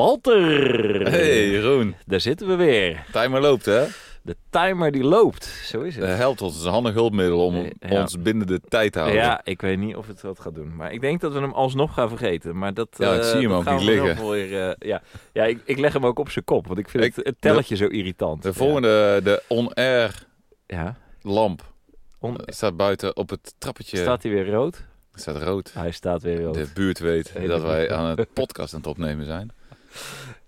Walter. Hey Jeroen, Daar zitten we weer. Eh, timer loopt hè? De timer die loopt. Zo is het. Dat helpt ons, het is een handig hulpmiddel om Eh, ja. ons binnen de tijd te houden. ja, ik weet niet of het dat gaat doen. Maar ik denk dat we hem alsnog gaan vergeten. Maar dat, Ja, ik eh, zie hem dat ook gaan niet we liggen. wel Weer, eh, ja, ja ik, ik leg hem ook op zijn kop. Want ik vind Ik- het, het telletje zo irritant. De volgende, de on-air Ja. ja. lamp, On- staat buiten op het trappetje. staat hij weer rood? staat rood. Hij staat weer rood. De buurt weet Hey, dat de- wij aan het podcast aan het opnemen zijn.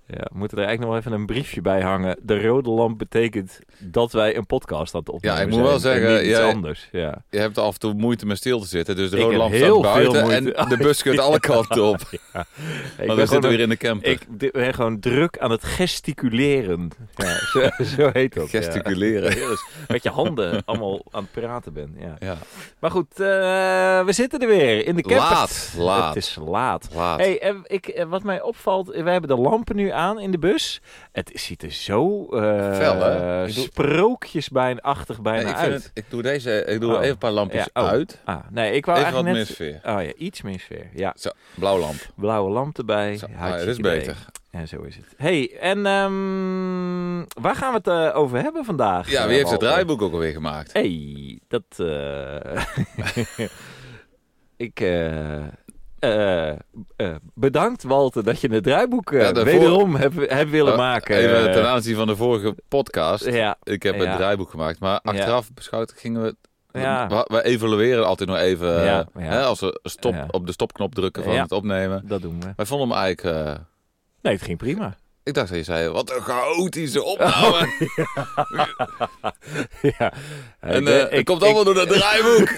Ja, we moeten er eigenlijk nog wel even een briefje bij hangen. De rode lamp betekent dat wij een podcast aan het opnemen Ja, ik moet zijn wel zeggen, En niet iets jij- anders. Ja. Je hebt af en toe moeite met stil te zitten, dus de Ik rode heb lamp staat heel veel buiten en moeite. de bus kunt alle kanten op. Ik Maar ben we gewoon zitten een- weer in de camper. Ik d- ben gewoon druk aan het gesticuleren. Ja, zo, zo heet dat. ja. Gesticuleren. Ja, dus met je handen allemaal aan het praten ben. Ja. Ja. Maar goed, eh, we zitten er weer in de camper. Laat, laat, Het is laat. laat. Hey, eh, ik, eh, wat mij opvalt, eh, wij hebben de lampen nu aan in de bus. Het ziet er zo eh Fel, hè? Ik doe- sprookjesbijnachtig Nee, bijna ik, vind uit. het- ik doe deze, ik doe Oh. even een paar lampjes Ja, oh. uit. Ah, nee, ik wou Even wat eigenlijk meer net... sfeer. Oh ja, iets meer sfeer. Ja, Zo, blauw lamp. blauwe lamp erbij. Zo, ah, Hartstikke dat is idee. beter. En zo is het. hey, en ehm, waar gaan we het eh, over hebben vandaag? Ja, eh, wie heeft het Walter? draaiboek ook alweer gemaakt? hey, dat... eh, ik... eh, eh, eh, bedankt, Walter, dat je het draaiboek eh, Ja, daarvoor- wederom hebt hebt willen Oh, maken. Even Eh, ten aanzien van de vorige podcast. ja, Ik heb Ja. een draaiboek gemaakt, maar achteraf beschouwd gingen we... Ja. We, we evalueren altijd nog even, Ja, eh, ja. Hè, als we stop, Ja. op de stopknop drukken van Ja. het opnemen. dat doen we. Wij vonden hem eigenlijk... eh, Nee, het ging prima. ik dacht dat je zei, wat een chaotische Oh. opname. ja. en ik- eh, ik- het komt ik- allemaal door dat draaiboek.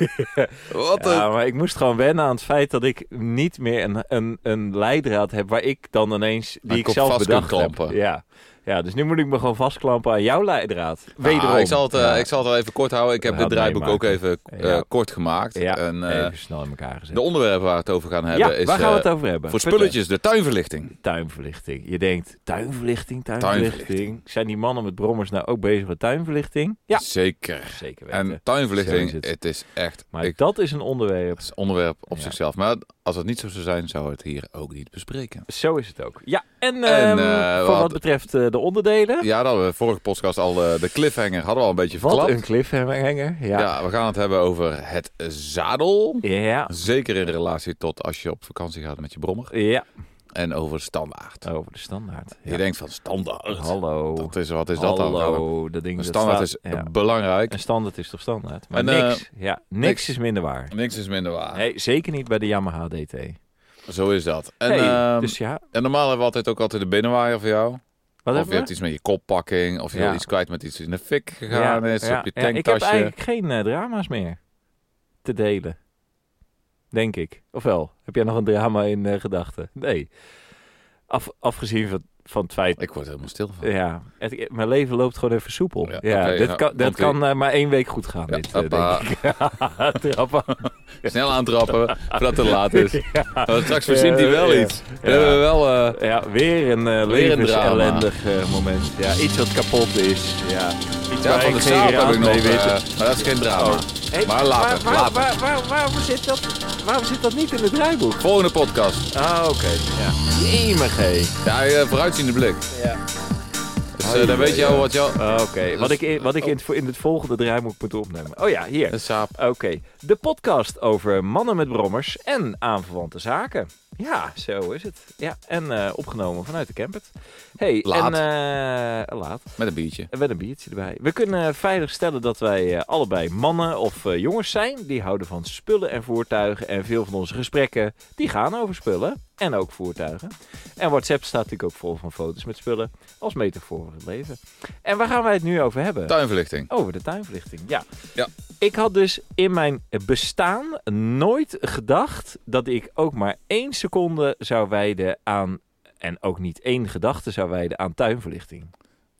wat een... Ja, maar ik moest gewoon wennen aan het feit dat ik niet meer een, een, een leidraad heb waar ik dan ineens die Maar ik kop zelf vast bedacht kunt heb. klampen. Ja. ja, dus nu moet ik me gewoon vastklampen aan jouw leidraad. Nou, Wederom. ik, zal het, eh, Ja. ik zal het wel even kort houden. Ik heb We het gaan draaiboek ook meemaken. even eh, Ja. kort gemaakt. Ja, En, eh, even snel in elkaar gezet. de onderwerpen waar we het over gaan hebben ja, is waar gaan we eh, het over hebben? voor Vertel. spulletjes de tuinverlichting. Tuinverlichting. Je denkt, tuinverlichting, tuinverlichting, Zijn die mannen met brommers nou ook bezig met tuinverlichting? Ja, Zeker. zeker weten. En tuinverlichting, Zo is het. het. is echt maar ik, dat is een onderwerp. het is een onderwerp op Ja. zichzelf. Maar als het niet zo zou zijn, zouden we het hier ook niet bespreken. Zo is het ook. Ja, en, ehm, En, eh, voor wat- wat betreft eh, de onderdelen. Ja, dat hadden we vorige podcast al eh, de cliffhanger hadden we al een beetje wat verklapt. een cliffhanger. ja. Ja. we gaan het hebben over het zadel. ja. Zeker in relatie tot als je op vakantie gaat met je brommer. Ja, En over standaard. over de standaard. Je denkt van standaard. Hallo. Dat is, wat is dat dan? Hallo, dat ding Een dat standaard is staat- ja. belangrijk. Een standaard is toch standaard? Maar En, eh, niks, ja, niks, niks. is minder waar. Niks is minder waar. Nee, zeker niet bij de Yamaha DT. Zo is dat. En, Nee, ehm, dus ja, en normaal hebben we altijd ook altijd de binnenwaaier voor jou. wat of je hebben hebt we? iets met je koppakking. Of je Ja. wil iets kwijt met iets in de fik gegaan is. ja, op je ja, ik heb tanktasje. eigenlijk geen eh, drama's meer te delen. Denk ik. Ofwel, heb jij nog een drama in eh, gedachten? Nee. Af, afgezien van, van het feit... Ik word er helemaal stil van. Ja, het- mijn leven loopt gewoon even soepel. Ja, Ja, oké, dit nou, kan, dat komt-ie. kan eh, maar één week goed gaan, Ja, dit, eh, hoppa. denk ik. Trappen. Snel aantrappen voordat het te laat is. Ja. Want straks verzint hij wel Ja, iets. Dan ja. hebben we wel... eh, Ja, weer een eh Weer een drama. levensellendig eh, moment. Ja, iets wat kapot is. Ja, iets ja, waar van ik geen de zaal heb raad ik nog... mee weet. eh, maar dat is geen drama. Oh. Hey, maar later, waar- waar- later. waar- waar- waarom, zit dat, waarom zit dat niet in het draaiboek? Volgende podcast. Ah, oké. Ja. Jemig, hé. Ja, eh, vooruitziende blik. Ja. Dus eh, dan weet je al wat jou... Ah, Oké, wat ik, wat ik in, het, in het volgende draaiboek moet opnemen. Oh ja, hier. De saap. Oké, de podcast over mannen met brommers en aanverwante zaken. Ja, zo is het. Ja, en eh, opgenomen vanuit de camper. Hey, Laat. En, eh, laat. Met een biertje. En met een biertje erbij. We kunnen veilig stellen dat wij eh, allebei mannen of eh, jongens zijn. Die houden van spullen en voertuigen. En veel van onze gesprekken die gaan over spullen en ook voertuigen. En WhatsApp staat natuurlijk ook vol van foto's met spullen. Als metafoor voor het leven. En waar gaan wij het nu over hebben? Tuinverlichting. Over de tuinverlichting, ja. Ja. Ik had dus in mijn bestaan nooit gedacht dat ik ook maar één seconde zou wijden aan, en ook niet één gedachte zou wijden aan tuinverlichting.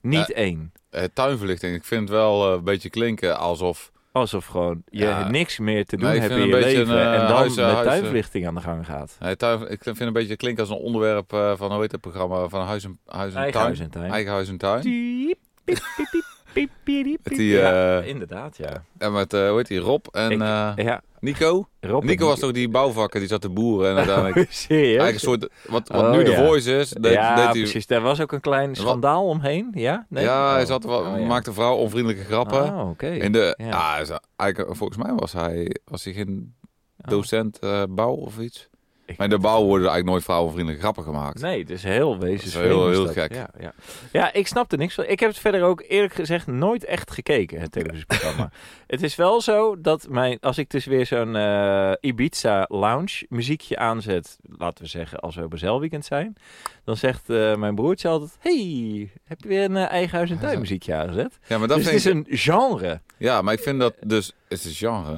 Niet één. Eh, tuinverlichting, ik vind het wel eh, een beetje klinken alsof... Alsof gewoon je Ja. niks meer te Nee, doen ik hebt in vind je een beetje leven een, eh, en dan huizen- met huizen- tuinverlichting aan de gang gaat. Nee, eh, tuin, ik vind het een beetje klinken als een onderwerp eh, van, hoe heet dat programma, van Huis en, huis en Eigen Tuin. huis en tuin. Eigen Huis en Tuin. Piep, piep, piep, piep, piep, piep, piep. Die, ja, eh, inderdaad, ja. En met, eh, hoe heet die, Rob en Ik- eh, ja Nico. Rob en Nico was toch die bouwvakker, die zat te boeren en uiteindelijk... Serieus? Eigenlijk een soort, wat, wat Oh, nu de ja. voice is, deed, ja, deed hij... precies. Daar was ook een klein schandaal omheen. Ja, nee? Ja, hij Oh. zat, wel- Oh, ja. maakte vrouw onvriendelijke grappen. Oh, oké. In de, Ja. ja. hij is eigenlijk, volgens mij was hij, was hij geen Oh. docent eh, bouw of iets. Ik- Maar in de bouw worden eigenlijk nooit vrouwenvriendelijke grappen gemaakt. Nee, het is heel wezensvreemd. heel- heel is dat. gek. Ja, ja. ja, ik snap er niks van. Ik heb het verder ook eerlijk gezegd nooit echt gekeken, het televisieprogramma. het is wel zo dat mijn, als ik dus weer zo'n eh, Ibiza lounge muziekje aanzet, laten we zeggen als we op een zeilweekend zijn, dan zegt eh, mijn broertje altijd, hey, heb je weer een eh, eigen huis- en tuinmuziekje aangezet? Ja, maar dat dus het is vind ik- een genre, ja, maar ik vind dat dus, is het genre?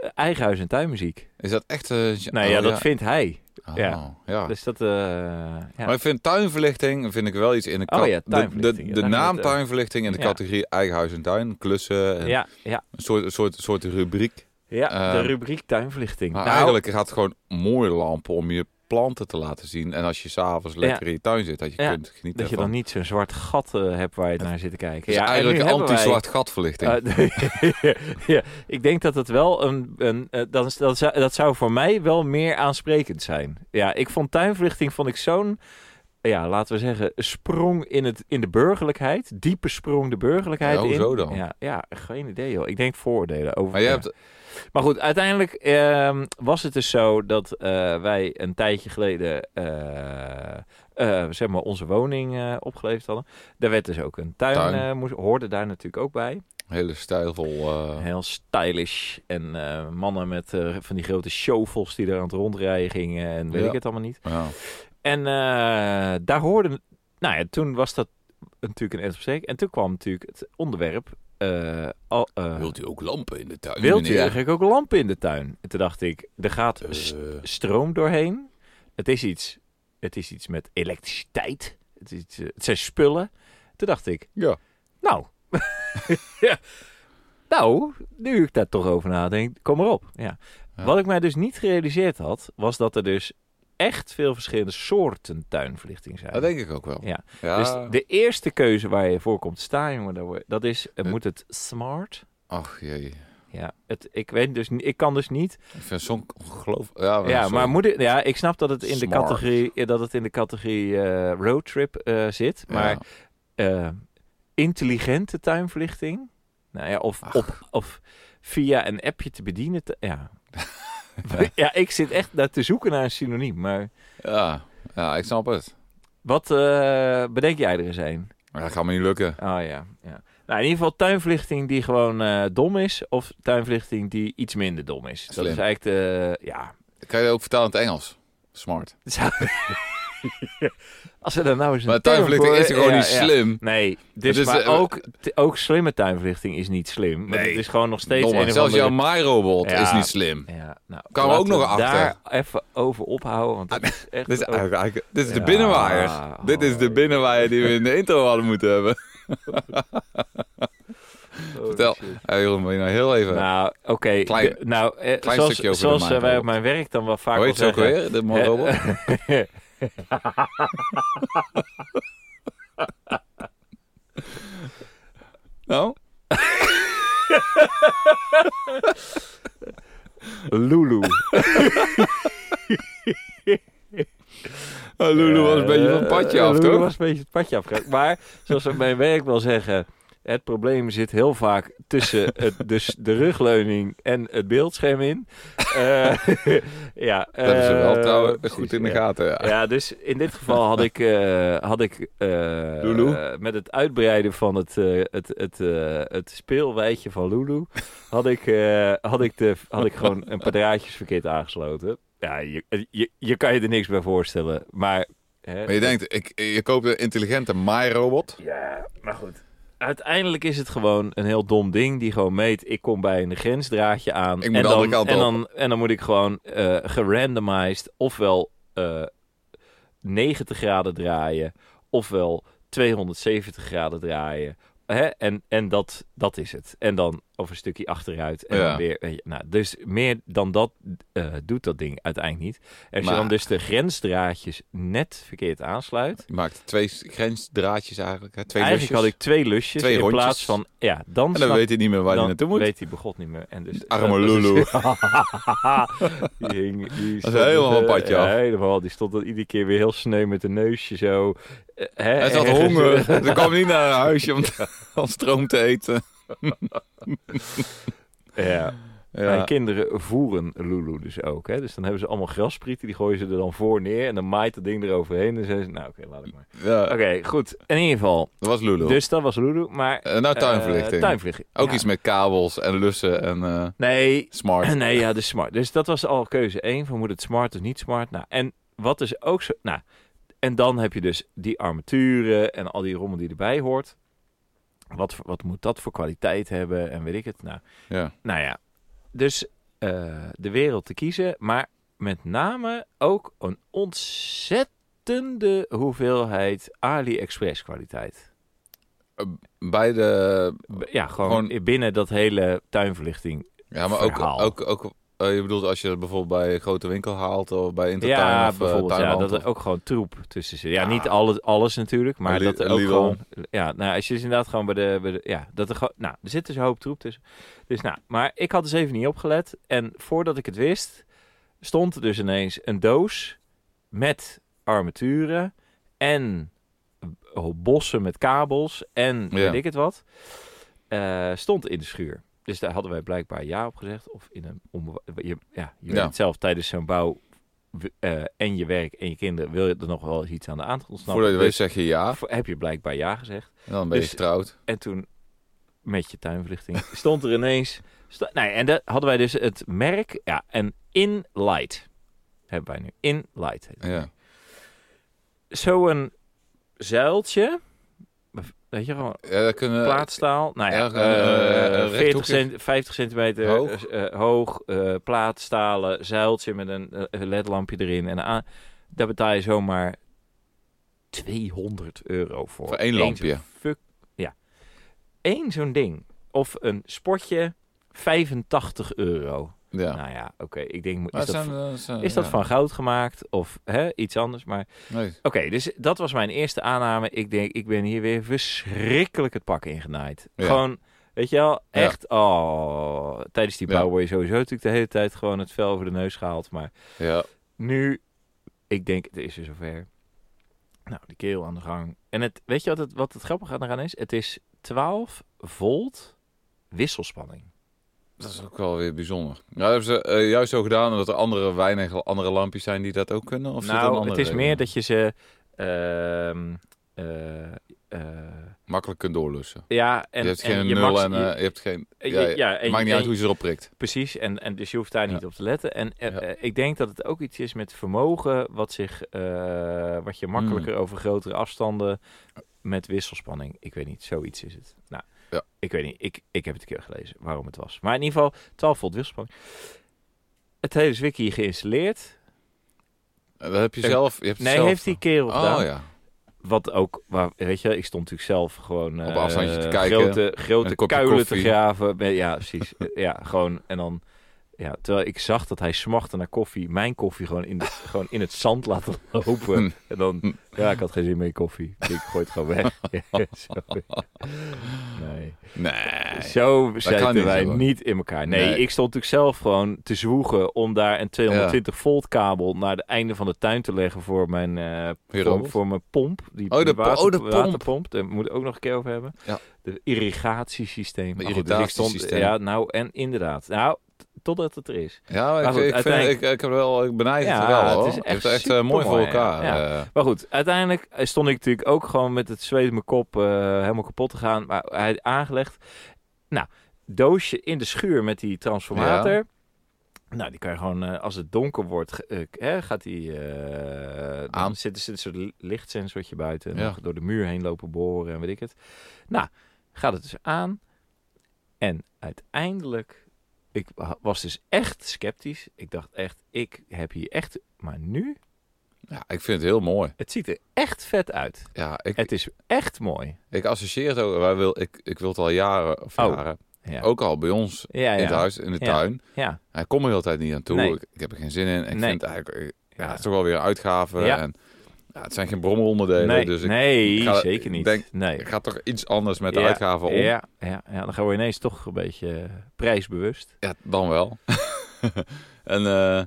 eh, eigen huis- en tuinmuziek. Is dat echt een gen- Nou ja, oh, dat vindt hij. Oh, ja. ja. Dus dat, eh, ja. Maar ik vind tuinverlichting vind ik wel iets in de Oh kat- ja, de, de, tuinverlichting, ja, de daar gaan naam we het, eh, tuinverlichting en de ja. categorie eigen huis en tuin, klussen, en ja, ja, een soort, een soort, een soort rubriek. ja, de Ehm, rubriek tuinverlichting. Maar Nou, eigenlijk gaat het gewoon om mooie lampen om je planten te laten zien. En als je s'avonds lekker in je tuin zit, dat je Ja, kunt genieten Dat je van. dan niet zo'n zwart gat eh, hebt waar je naar zit te kijken. Dus en eigenlijk nu een hebben wij- anti-zwart gatverlichting. Eh, ja, ik denk dat het wel een... een eh, dat, is- dat, zou, dat zou voor mij wel meer aansprekend zijn. Ja, ik vond tuinverlichting vond ik zo'n... Ja, laten we zeggen, sprong in, het, in de burgerlijkheid. Diepe sprong de burgerlijkheid Ja, in. hoezo dan? Ja, ja, geen idee joh. Ik denk vooroordelen over... maar je ja. hebt, Maar goed, uiteindelijk ehm, was het dus zo dat eh, wij een tijdje geleden eh, eh, zeg maar onze woning eh, opgeleverd hadden. Daar werd dus ook een tuin, Tuin. eh, moest, hoorde daar natuurlijk ook bij. Hele stijlvol. eh, Heel stylish en eh, mannen met eh, van die grote shovels die er aan het rondrijden gingen en weet Ja. ik het allemaal niet. ja. En eh, daar hoorden... Nou ja, toen was dat natuurlijk een ernst op zich. En toen kwam natuurlijk het onderwerp... eh, al, eh, Wilt u ook lampen in de tuin? wilt u meneer? eigenlijk ook lampen in de tuin? En toen dacht ik, er gaat Eh, st- stroom doorheen. Het is iets, het is iets met elektriciteit. Het, is, iets, eh, het zijn spullen. Toen dacht ik, ja. nou, ja, nou, nu ik daar toch over nadenk, kom maar op. Ja. Ja. Wat ik mij dus niet gerealiseerd had, was dat er dus echt veel verschillende soorten tuinverlichting zijn. Dat denk ik ook wel. Ja. Ja. Dus de eerste keuze waar je voor komt staan, jongen, daar word- dat is, eh, Eh. moet het smart? Ach jee. Ja, het, ik weet dus, ni- ik kan dus niet Ik vind zo'n ongeloof. Ja, Ja, Oh, sorry. maar moet ik, ja, ik snap dat het in de Smart. categorie, eh, dat het in de categorie eh, roadtrip eh, zit. Ja. Maar eh, intelligente tuinverlichting. Nou ja, of, Ach. op, of via een appje te bedienen. te- ja. ja, ik zit echt daar te zoeken naar een synoniem. Maar Ja. ja, ik snap het. wat eh, bedenk jij er eens een? Maar dat gaat me niet lukken. Oh ja, ja. Nou, in ieder geval tuinverlichting die gewoon eh, dom is. Of tuinverlichting die iets minder dom is. Slim. Dat is eigenlijk de, ja... Kan je dat ook vertalen in het Engels? Smart. Als we daar nou eens een Maar term tuinverlichting voor- is gewoon ja, niet ja. slim. Nee, dus, Het is, maar eh, ook, t- ook slimme tuinverlichting is niet slim. Maar Nee. het is gewoon nog steeds Domme. een of Zelfs jouw andere- maairobot Ja. is niet slim. Ja, nou, Kan we laten ook nog achter. daar even over ophouden, want dat is echt... Dit is, ook- eigenlijk, dit is de Ja. binnenwaaier. Dit is de Oh, binnenwaaier die we in de intro hadden moeten hebben. oh, Vertel. shit. Hey, Jeroen, wil je nou heel even... Nou, oké. Klein- de- nou, eh, klein zoals, stukje over de zoals eh, wij maairobot. op mijn werk dan wel vaak Hoe wel heet ze ook zeggen... weer, de maairobot? Nou? Lulu. Ah, Lulu was een beetje van het padje Eh, af, Lulu toch? was een beetje het padje afgegaan. Maar zoals we op mijn werk wel zeggen, het probleem zit heel vaak tussen het, dus de rugleuning en het beeldscherm in. Eh, ja, Dat hebben ze wel eh, trouwens precies, goed in de ja. gaten. Ja. Ja, dus in dit geval had ik, eh, had ik eh, Lulu? eh, met het uitbreiden van het, eh, het, het, eh, het speelwijdje van Lulu, had ik, eh, had ik, de, had ik gewoon een paar draadjes verkeerd aangesloten. Ja, je, je, je kan je er niks bij voorstellen, maar... Hè, Maar je denkt, ik, je koopt een intelligente maairobot. Ja, maar goed. Uiteindelijk is het gewoon een heel dom ding die gewoon meet. Ik kom bij een grensdraadje aan. Ik moet en, de dan, andere kant en, op. dan, en dan moet ik gewoon eh gerandomized ofwel eh 90 graden draaien, ofwel 270 graden draaien. Hè? En, en dat, dat is het. En dan, oké, of een stukje achteruit. En Ja. dan weer, weet je, nou, dus meer dan dat eh, doet dat ding uiteindelijk niet. Als Maar- je dan dus de grensdraadjes net verkeerd aansluit. Je maakt twee s- grensdraadjes eigenlijk. Hè? Twee eigenlijk lusjes. had ik twee lusjes Twee in rondjes. plaats van... Ja, dan En dan snap- weet hij niet meer waar hij dan naartoe moet. weet hij begot niet meer. En dus, Arme dat is- dus- Lulu. die hing, die Dat is stond- helemaal een padje eh, af. Helemaal. Die stond dan iedere keer weer heel sneu met een neusje zo. Eh, hè, Hij had ergens- honger. Ze kwam niet naar haar huisje om, om stroom te eten. Ja. Ja. Mijn kinderen voeren Lulu dus ook. Hè? Dus dan hebben ze allemaal grassprieten, die gooien ze er dan voor neer. En dan maait dat ding eroverheen. En zijn ze, nou oké, laat ik maar. Ja, Oké, goed. In ieder geval. dat was Lulu. Dus dat was Lulu. Maar... Eh, nou, tuinverlichting. eh, tuinverlichting. Ook Ja. iets met kabels en lussen en eh, Nee, smart. Nee, ja, de smart. Dus dat was al keuze 1, van moet het smart of niet smart. Nou, en wat is ook zo... Nou, en dan heb je dus die armaturen en al die rommel die erbij hoort. Wat, voor- wat moet dat voor kwaliteit hebben en weet ik het. Nou, Ja. nou ja, dus eh, de wereld te kiezen. Maar met name ook een ontzettende hoeveelheid AliExpress kwaliteit. Bij de... B- Ja, gewoon, Gewoon- binnen dat hele tuinverlichting. Ja, maar ook... Verhaal. ook, ook eh, je bedoelt als je dat bijvoorbeeld bij een grote winkel haalt of bij Intertuin ja, of eh, bijvoorbeeld. Ja, tuinhandel. dat er ook gewoon troep tussen zit. Ja, Ja. niet alles, alles natuurlijk, maar Li- dat er ook Lidl. gewoon... Ja, nou, als je dus inderdaad gewoon bij de... Bij de ja, dat er gewoon... Nou, er zit dus een hoop troep tussen. Dus nou, maar ik had dus even niet opgelet. En voordat ik het wist, stond er dus ineens een doos met armaturen en eh, bossen met kabels en Ja. weet ik het wat. eh, stond in de schuur. Dus daar hadden wij blijkbaar ja op gezegd. Of in een onbewa- je, ja, je Ja. weet het zelf tijdens zo'n bouw w- eh, en je werk en je kinderen wil je er nog wel eens iets aan de aandacht ontsnappen. Voordat je het weet Dus zeg je ja. v- heb je blijkbaar ja gezegd. En dan ben je Dus- getrouwd. En toen met je tuinverlichting stond er ineens. sta- nee, en daar hadden wij dus het merk. Ja, en Inlight hebben wij nu. Inlight heet het Ja. zo'n zuiltje. Weet je, gewoon Ja, dat kunnen... plaatstaal. Nou ja, Eh, erg, eh, eh, eh, 40 rechthoekig. cent, 50 centimeter Hoog. hoog, hoog eh, plaatstalen zuiltje met een eh, ledlampje erin. En aan, daar betaal je zomaar 200 euro voor. Voor één Eén lampje. zo'n fuck, ja. Eén zo'n ding. Of een sportje, 85 euro. Ja. Nou ja, oké. Ik denk, Maar is, het dat, zijn, eh, zijn- is dat ja. van goud gemaakt? Of hè, iets anders? Maar Nee. Oké, dus dat was mijn eerste aanname. Ik denk, ik ben hier weer verschrikkelijk het pak ingenaaid. Ja. Gewoon, weet je wel, Ja. echt, oh. Tijdens die Ja. bouw word je sowieso natuurlijk de hele tijd gewoon het vel over de neus gehaald. Maar Ja. nu, ik denk, het is weer zover. Nou, die kerel aan de gang. En het, weet je wat het, wat het grappige eraan is? Het is 12 volt wisselspanning. Dat is ook wel weer bijzonder. Ja, dat hebben ze eh, juist zo gedaan omdat er andere weinig andere lampjes zijn die dat ook kunnen? Of zit er een nou, andere het is reden? meer dat je ze... ehm, eh, eh, Makkelijk kunt doorlussen. ja, en, je hebt en geen je nul max- en je- eh, je hebt geen... eh, ja, je- ja, en- maakt niet en- uit hoe je erop prikt. Precies, en, en dus je hoeft daar Ja. niet op te letten. En eh, Ja. eh, ik denk dat het ook iets is met vermogen, wat, zich, eh, wat Mm. je makkelijker over grotere afstanden met wisselspanning. Ik weet niet, zoiets is het. Nou, Ja. ik weet niet, ik, ik heb het een keer gelezen waarom het was. Maar in ieder geval, 12 volt wisselspanning. Het hele Zwicky geïnstalleerd. Eh, Dat heb je Eh, zelf... Je hebt het Nee, zelf... heeft die kerel gedaan. Oh ja. Wat ook, waar, weet je, ik stond natuurlijk zelf gewoon... Op eh, afstandje te kijken. Grote, Met grote een kopje kuilen koffie. te graven. Met- Ja, precies. ja, gewoon, en dan... Ja, terwijl ik zag dat hij smachtte naar koffie, mijn koffie gewoon in, de- gewoon in het zand laten lopen. en dan, ja, ik had geen zin meer in koffie. Ik gooi het gewoon weg. Ja, zo. nee. Nee. Zo kan niet, zitten wij hoor. niet in elkaar. Nee, Nee. ik stond natuurlijk zelf gewoon te zwoegen om daar een 220 volt kabel naar het einde van de tuin te leggen voor mijn eh, Weer voor, robot? voor mijn pomp. Die, Oh, de die po- water- oh, de pomp. waterpomp. Daar moet ik ook nog een keer over hebben. Ja. De irrigatiesysteem. De Maar goed, dus ik stond- irrigatiesysteem. ja, nou, en inderdaad. Nou, t- totdat het er is. Ja, maar ik, Maar goed, ik, vind- uiteindelijk- ik, ik heb wel... Ik benijd het Ja, wel het hoor. is Je echt hebt het echt eh, mooi voor supermooi, elkaar. ja. eh. Maar goed, uiteindelijk eh, stond ik natuurlijk ook gewoon met het zweet in mijn kop eh, helemaal kapot te gaan. Maar hij aangelegd. Nou, doosje in de schuur met die transformator. Nou, die kan je gewoon, eh, als het donker wordt, ge- eh, k- hè, gaat die eh, dan Aan. Zit, er zit een soort li- lichtsensortje buiten. En Ja. dan door de muur heen lopen boren en weet ik het. Nou, gaat het dus aan. En uiteindelijk, ik wa- was dus echt sceptisch. Ik dacht echt, ik heb hier echt, maar nu, Ja, ik vind het heel mooi. het ziet er echt vet uit. Ja, ik, Het is echt mooi. Ik associeer het ook. Wij wil, ik, ik wil het al jaren of Oh. jaren. Ja. Ook al bij ons ja, in ja. het huis, in de Ja. tuin. Ja. Hij komt er de hele tijd niet aan toe. Nee. Ik, ik heb er geen zin in. Ik Nee. vind het eigenlijk... eh, Ja, Ja. het is toch wel weer een uitgave. Ja. En, ja, het zijn geen brommeronderdelen. Nee, Dus ik, nee ik ga- zeker niet. denk- nee. ik ga toch iets anders met de Ja. uitgaven om. Ja. Ja, ja, ja, dan gaan we ineens toch een beetje eh, prijsbewust. dan wel. en, eh,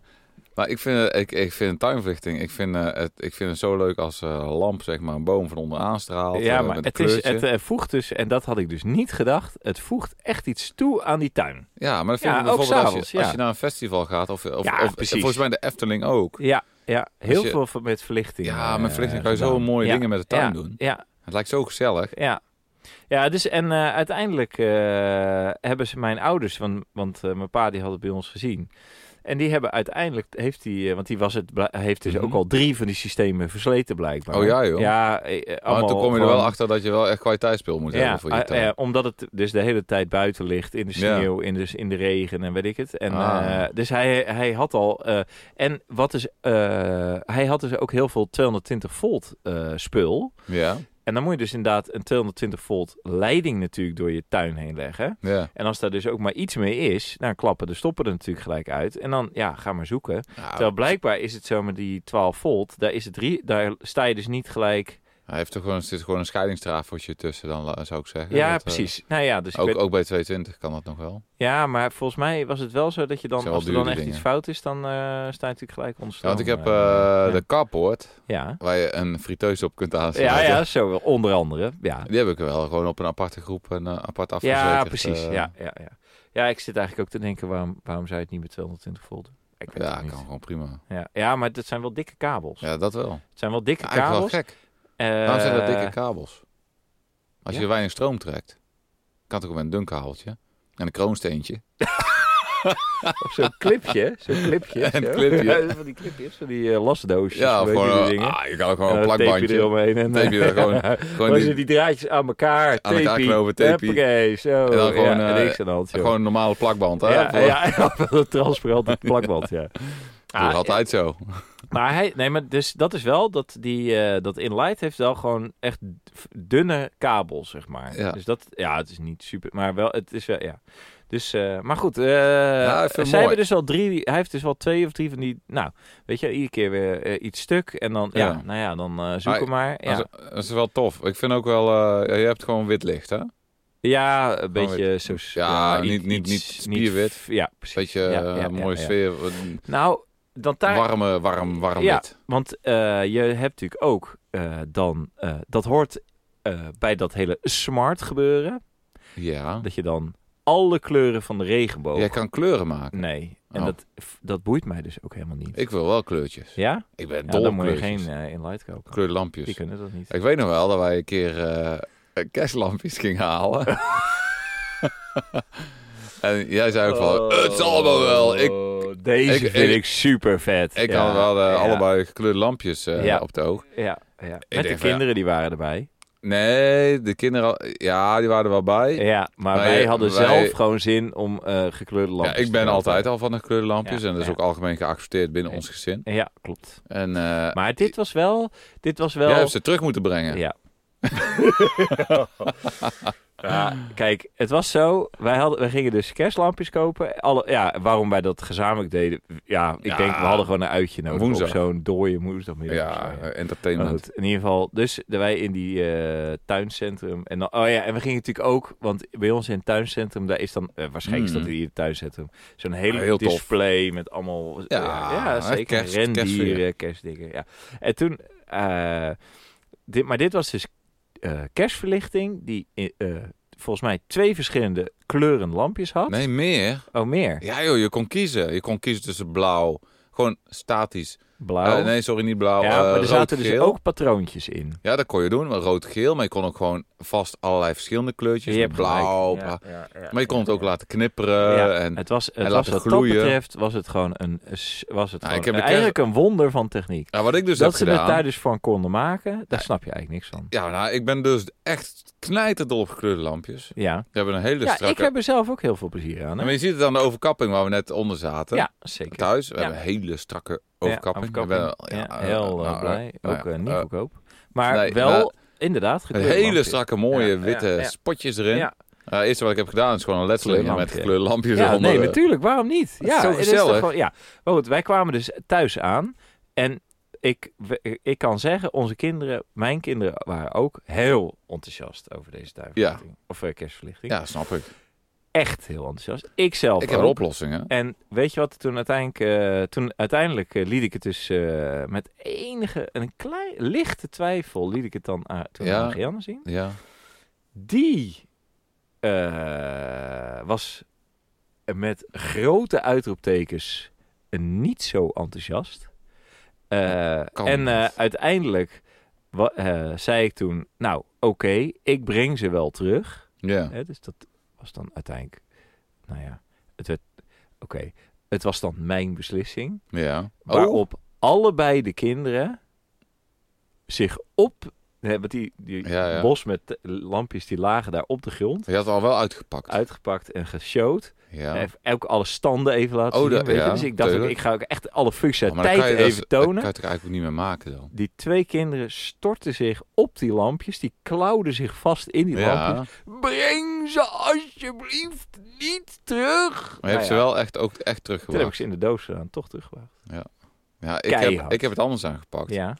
maar ik vind, eh, ik, ik vind een tuinverlichting... Ik vind, eh, het, ik vind het zo leuk als eh, een lamp, zeg maar, een boom van onderaan straalt. ja, eh, maar met een het, is, kleurtje. het eh, voegt dus, en dat had ik dus niet gedacht, het voegt echt iets toe aan die tuin. Ja, maar dat vind Ja, ik ook bijvoorbeeld als je, s'avonds, ja. als je naar een festival gaat, of, of, Ja, of precies. volgens mij de Efteling ook. Ja, ja heel je- veel van- met verlichting. Ja, eh, met verlichting kan je zo gedaan. mooie Ja, dingen met de tuin ja, doen. Ja, Het lijkt zo gezellig. Ja. Ja, dus en eh, uiteindelijk eh, hebben ze mijn ouders, want, want eh, mijn pa die had het bij ons gezien. En die hebben uiteindelijk, heeft die, eh, want die was het, bla- heeft dus Mhm. ook al drie van die systemen versleten blijkbaar. Oh ja, joh. Ja, eh, eh, Maar allemaal toen kom je er gewoon- wel achter dat je wel echt kwaliteitsspeel moet Ja, hebben voor je eh, tuin. eh, omdat het dus de hele tijd buiten ligt, in de Ja. sneeuw, in, de, in de regen en weet ik het. En, Ah. eh, dus hij, hij had al, eh, en wat is, eh, hij had dus ook heel veel 220 volt eh, spul. ja, En dan moet je dus inderdaad een 220 volt leiding natuurlijk door je tuin heen leggen. ja. En als daar dus ook maar iets mee is, dan klappen de stoppen er natuurlijk gelijk uit. En dan, ja, ga maar zoeken. ja. Terwijl blijkbaar is het zomaar die 12 volt, daar, is het drie, daar sta je dus niet gelijk... Hij heeft toch gewoon, er zit gewoon een scheidingstrafeltje tussen dan, la- zou ik zeggen. Ja, Dat, eh, precies. nou ja, dus ik ook, weet- ook bij 220 kan dat nog wel. ja, maar volgens mij was het wel zo dat je dan, Zijn wel als er dan dure echt dingen. iets fout is, dan eh, sta je natuurlijk gelijk onder Ja, want ik stroom, heb eh, eh, ja. de carport, Ja. waar je een friteus op kunt Ja, aansluiten. ja, zo wel. Onder andere, ja. Die heb ik wel gewoon op een aparte groep en eh, apart afgezet. Ja, precies. eh. Ja, ja, ja. ja, ik zit eigenlijk ook te denken, waarom, waarom zou je het niet met 220 volt doen? Ik weet Ja, het niet. kan gewoon prima. Ja, ja, maar dat zijn wel dikke kabels. Ja, dat wel. Het zijn wel dikke Eigenlijk wel kabels. gek. Eh, Waarom zijn dat dikke kabels? Als ja. je weinig stroom trekt, kan het ook met een dun kabeltje en een kroonsteentje. Of zo'n clipje. Zo'n clipje. Een zo. clipje. Ja, van die clipjes, van die eh, lasdoosjes. Ja, of weet je, gewoon, die eh, dingen. ah, je kan ook En gewoon een dan tape je plakbandje. eromheen. En, Tape je er gewoon- Gewoon Gewoon, die, die, draadjes aan elkaar. Aan elkaar tapie, knopen, tapie. Hoppakee, zo. En dan gewoon, ja, eh, niks aan de hand, joh. gewoon een normale plakband. Hè? ja, Voor- ja, ja, wel een transparant plakband, ja. voor Ah, altijd zo. Maar hij, nee, maar dus dat is wel dat die eh, dat Inlight heeft wel gewoon echt d- dunne kabel, zeg maar. Ja. Dus dat, ja, het is niet super, maar wel, het is wel, ja. Dus, eh, maar goed, eh ik vind het zij mooi. hebben dus al drie, hij heeft dus wel twee of drie van die, nou, weet je, iedere keer weer eh, iets stuk en dan, ja, Ja. nou ja, dan eh, zoeken maar. Ja, Dat, is, dat is wel tof. Ik vind ook wel, eh, ja, je hebt gewoon wit licht, hè? ja een Gewoon beetje zo. Ja, i- niet- niet- iets- niet spierwit. f- ja, precies. Beetje Ja, eh, ja, ja, mooie ja. sfeer. Nou, dan daar, Warme, warm, warm Ja. wit. Want eh, je hebt natuurlijk ook eh, dan, eh, dat hoort eh, bij dat hele smart gebeuren. Ja. Dat je dan alle kleuren van de regenboog. Jij kan kleuren maken. Nee, en Oh. dat, dat boeit mij dus ook helemaal niet. Ik wil wel kleurtjes. Ja? Ik ben Ja, dol dan op moet je kleurtjes. geen eh, inlight kopen. Kleurlampjes. Die kunnen dat niet. Ik weet nog wel dat wij een keer eh, kerstlampjes gingen halen. en jij zei ook van, het zal allemaal wel. Ik, Oh, Deze ik- vind ik, ik- super vet. ik Ja, had wel ja, eh, allebei gekleurde lampjes eh, Ja. op het oog. Ja, ja. denk Met de van, kinderen die waren erbij. Nee, de kinderen, ja, die waren er wel bij. Ja, maar Wij- wij hadden wij- zelf gewoon zin om eh, gekleurde Ja, lampjes ik te ben kopen. altijd al van de gekleurde lampjes Ja, en dat is ja. ook algemeen geaccepteerd binnen ons gezin. Ja, klopt. En eh, Maar dit was wel... Dit was wel... jij hebt ze terug moeten brengen. Ja. ja. Kijk, het was zo. Wij, hadden, wij gingen dus kerstlampjes kopen. Alle, ja, waarom wij dat gezamenlijk deden. Ja, ik Ja. denk we hadden gewoon een uitje nodig. Woensdag. Op zo'n dode woensdagmiddag. Ja, of zo, ja. Oh, eh, Maar entertainment. goed, in ieder geval, dus de- wij in die eh, tuincentrum. En dan, oh ja, en we gingen natuurlijk ook, want bij ons in het tuincentrum, daar is dan, eh, waarschijnlijk is Mm. dat hier het tuincentrum, zo'n hele Ah, Heel tof. display met allemaal, ja, ja, echt zeker, kerst- rendieren, kerstfeer. kerstdingen. Ja. En toen, eh, dit, maar dit was dus eh, kerstverlichting, die eh, eh, volgens mij twee verschillende kleuren lampjes had. Nee, meer. Oh, meer. Ja joh, je kon kiezen. Je kon kiezen tussen blauw, gewoon statisch. Blauw. Eh, nee, sorry, niet blauw. ja, eh, maar er zaten dus rood-geel. ook patroontjes in. Ja, dat kon je doen, maar rood-geel. Maar je kon ook gewoon vast allerlei verschillende kleurtjes. Je met hebt gelijk. blauw. Ja, bla- ja, ja, maar je kon het ja, ook ja. laten knipperen. Ja, Eh, en, het was, het en was laten wat gloeien. dat betreft was het gewoon een, s- was het Ja, gewoon Nou, een- ik heb de kerst- eigenlijk een wonder van techniek. Ja, wat ik dus dat heb ze het gedaan... daar dus van konden maken, daar snap je eigenlijk niks van. Ja, nou, ik ben dus echt knijterdol op gekleurde lampjes. Ja, We hebben een hele ja ik strakke... heb er zelf ook heel veel plezier aan. Ja, Hè? Maar je ziet het aan de overkapping waar we net onder zaten. Ja, zeker. Thuis, we Ja. hebben een hele strakke overkapping. Ja, Ik ben wel- Ja, eh, heel eh, nou, blij. eh, ook eh, niet eh, goedkoop. Maar nee, wel, inderdaad, Een gekleurde hele lampjes. strakke, mooie Ja, ja, witte ja. spotjes erin. Ja, Eh, het eerste wat ik heb gedaan is gewoon een letsel met Kleurlampje. gekleurde lampjes Ja, eronder. nee, natuurlijk. Waarom niet? is Ja, zo het is gezellig. toch gewoon- ja. Maar goed, wij kwamen dus thuis aan. En ik, we- ik kan zeggen, onze kinderen, mijn kinderen waren ook heel enthousiast over deze duivenverlichting. Of eh, kerstverlichting. Ja, snap ik. Echt heel enthousiast. Ik zelf Ik heb ook. oplossingen. En weet je wat, toen uiteindelijk, eh, toen uiteindelijk eh, liet ik het dus eh, met enige, een klein, lichte twijfel, liet ik het dan aan, toen Ja. aan Marianne zien. Ja. Die eh, was met grote uitroeptekens niet zo enthousiast. Eh, Kan en eh, niet. uiteindelijk wa- eh, zei ik toen, nou oké, ik breng ze wel terug. Ja. Hè, dus dat was dan uiteindelijk, nou ja, het werd, oké, het was dan mijn beslissing. Ja. Oh, Waarop allebei de kinderen zich op, hè, want die, die Ja, ja. bos met t- lampjes die lagen daar op de grond, je had het al wel uitgepakt. uitgepakt en geshowt. Ja. En Ook alle standen even laten Oh, zien, dat- weet je. ja, Dus ik dacht, ook, tuurlijk. ik ga ook echt alle functies Oh, uit maar dan tijd kan je dat- even Dat tonen. kan je het eigenlijk ook niet meer maken dan. Die twee kinderen stortten zich op die lampjes. Die klauwden zich vast in die lampjes. Ja. Breng ze alsjeblieft niet terug. Maar je hebt Nou ze ja, wel echt, ook echt Toen heb ik teruggebracht. ze in de doos gedaan, toch teruggebracht. Ja, ik heb, keihard. ik heb het anders aangepakt. Ja,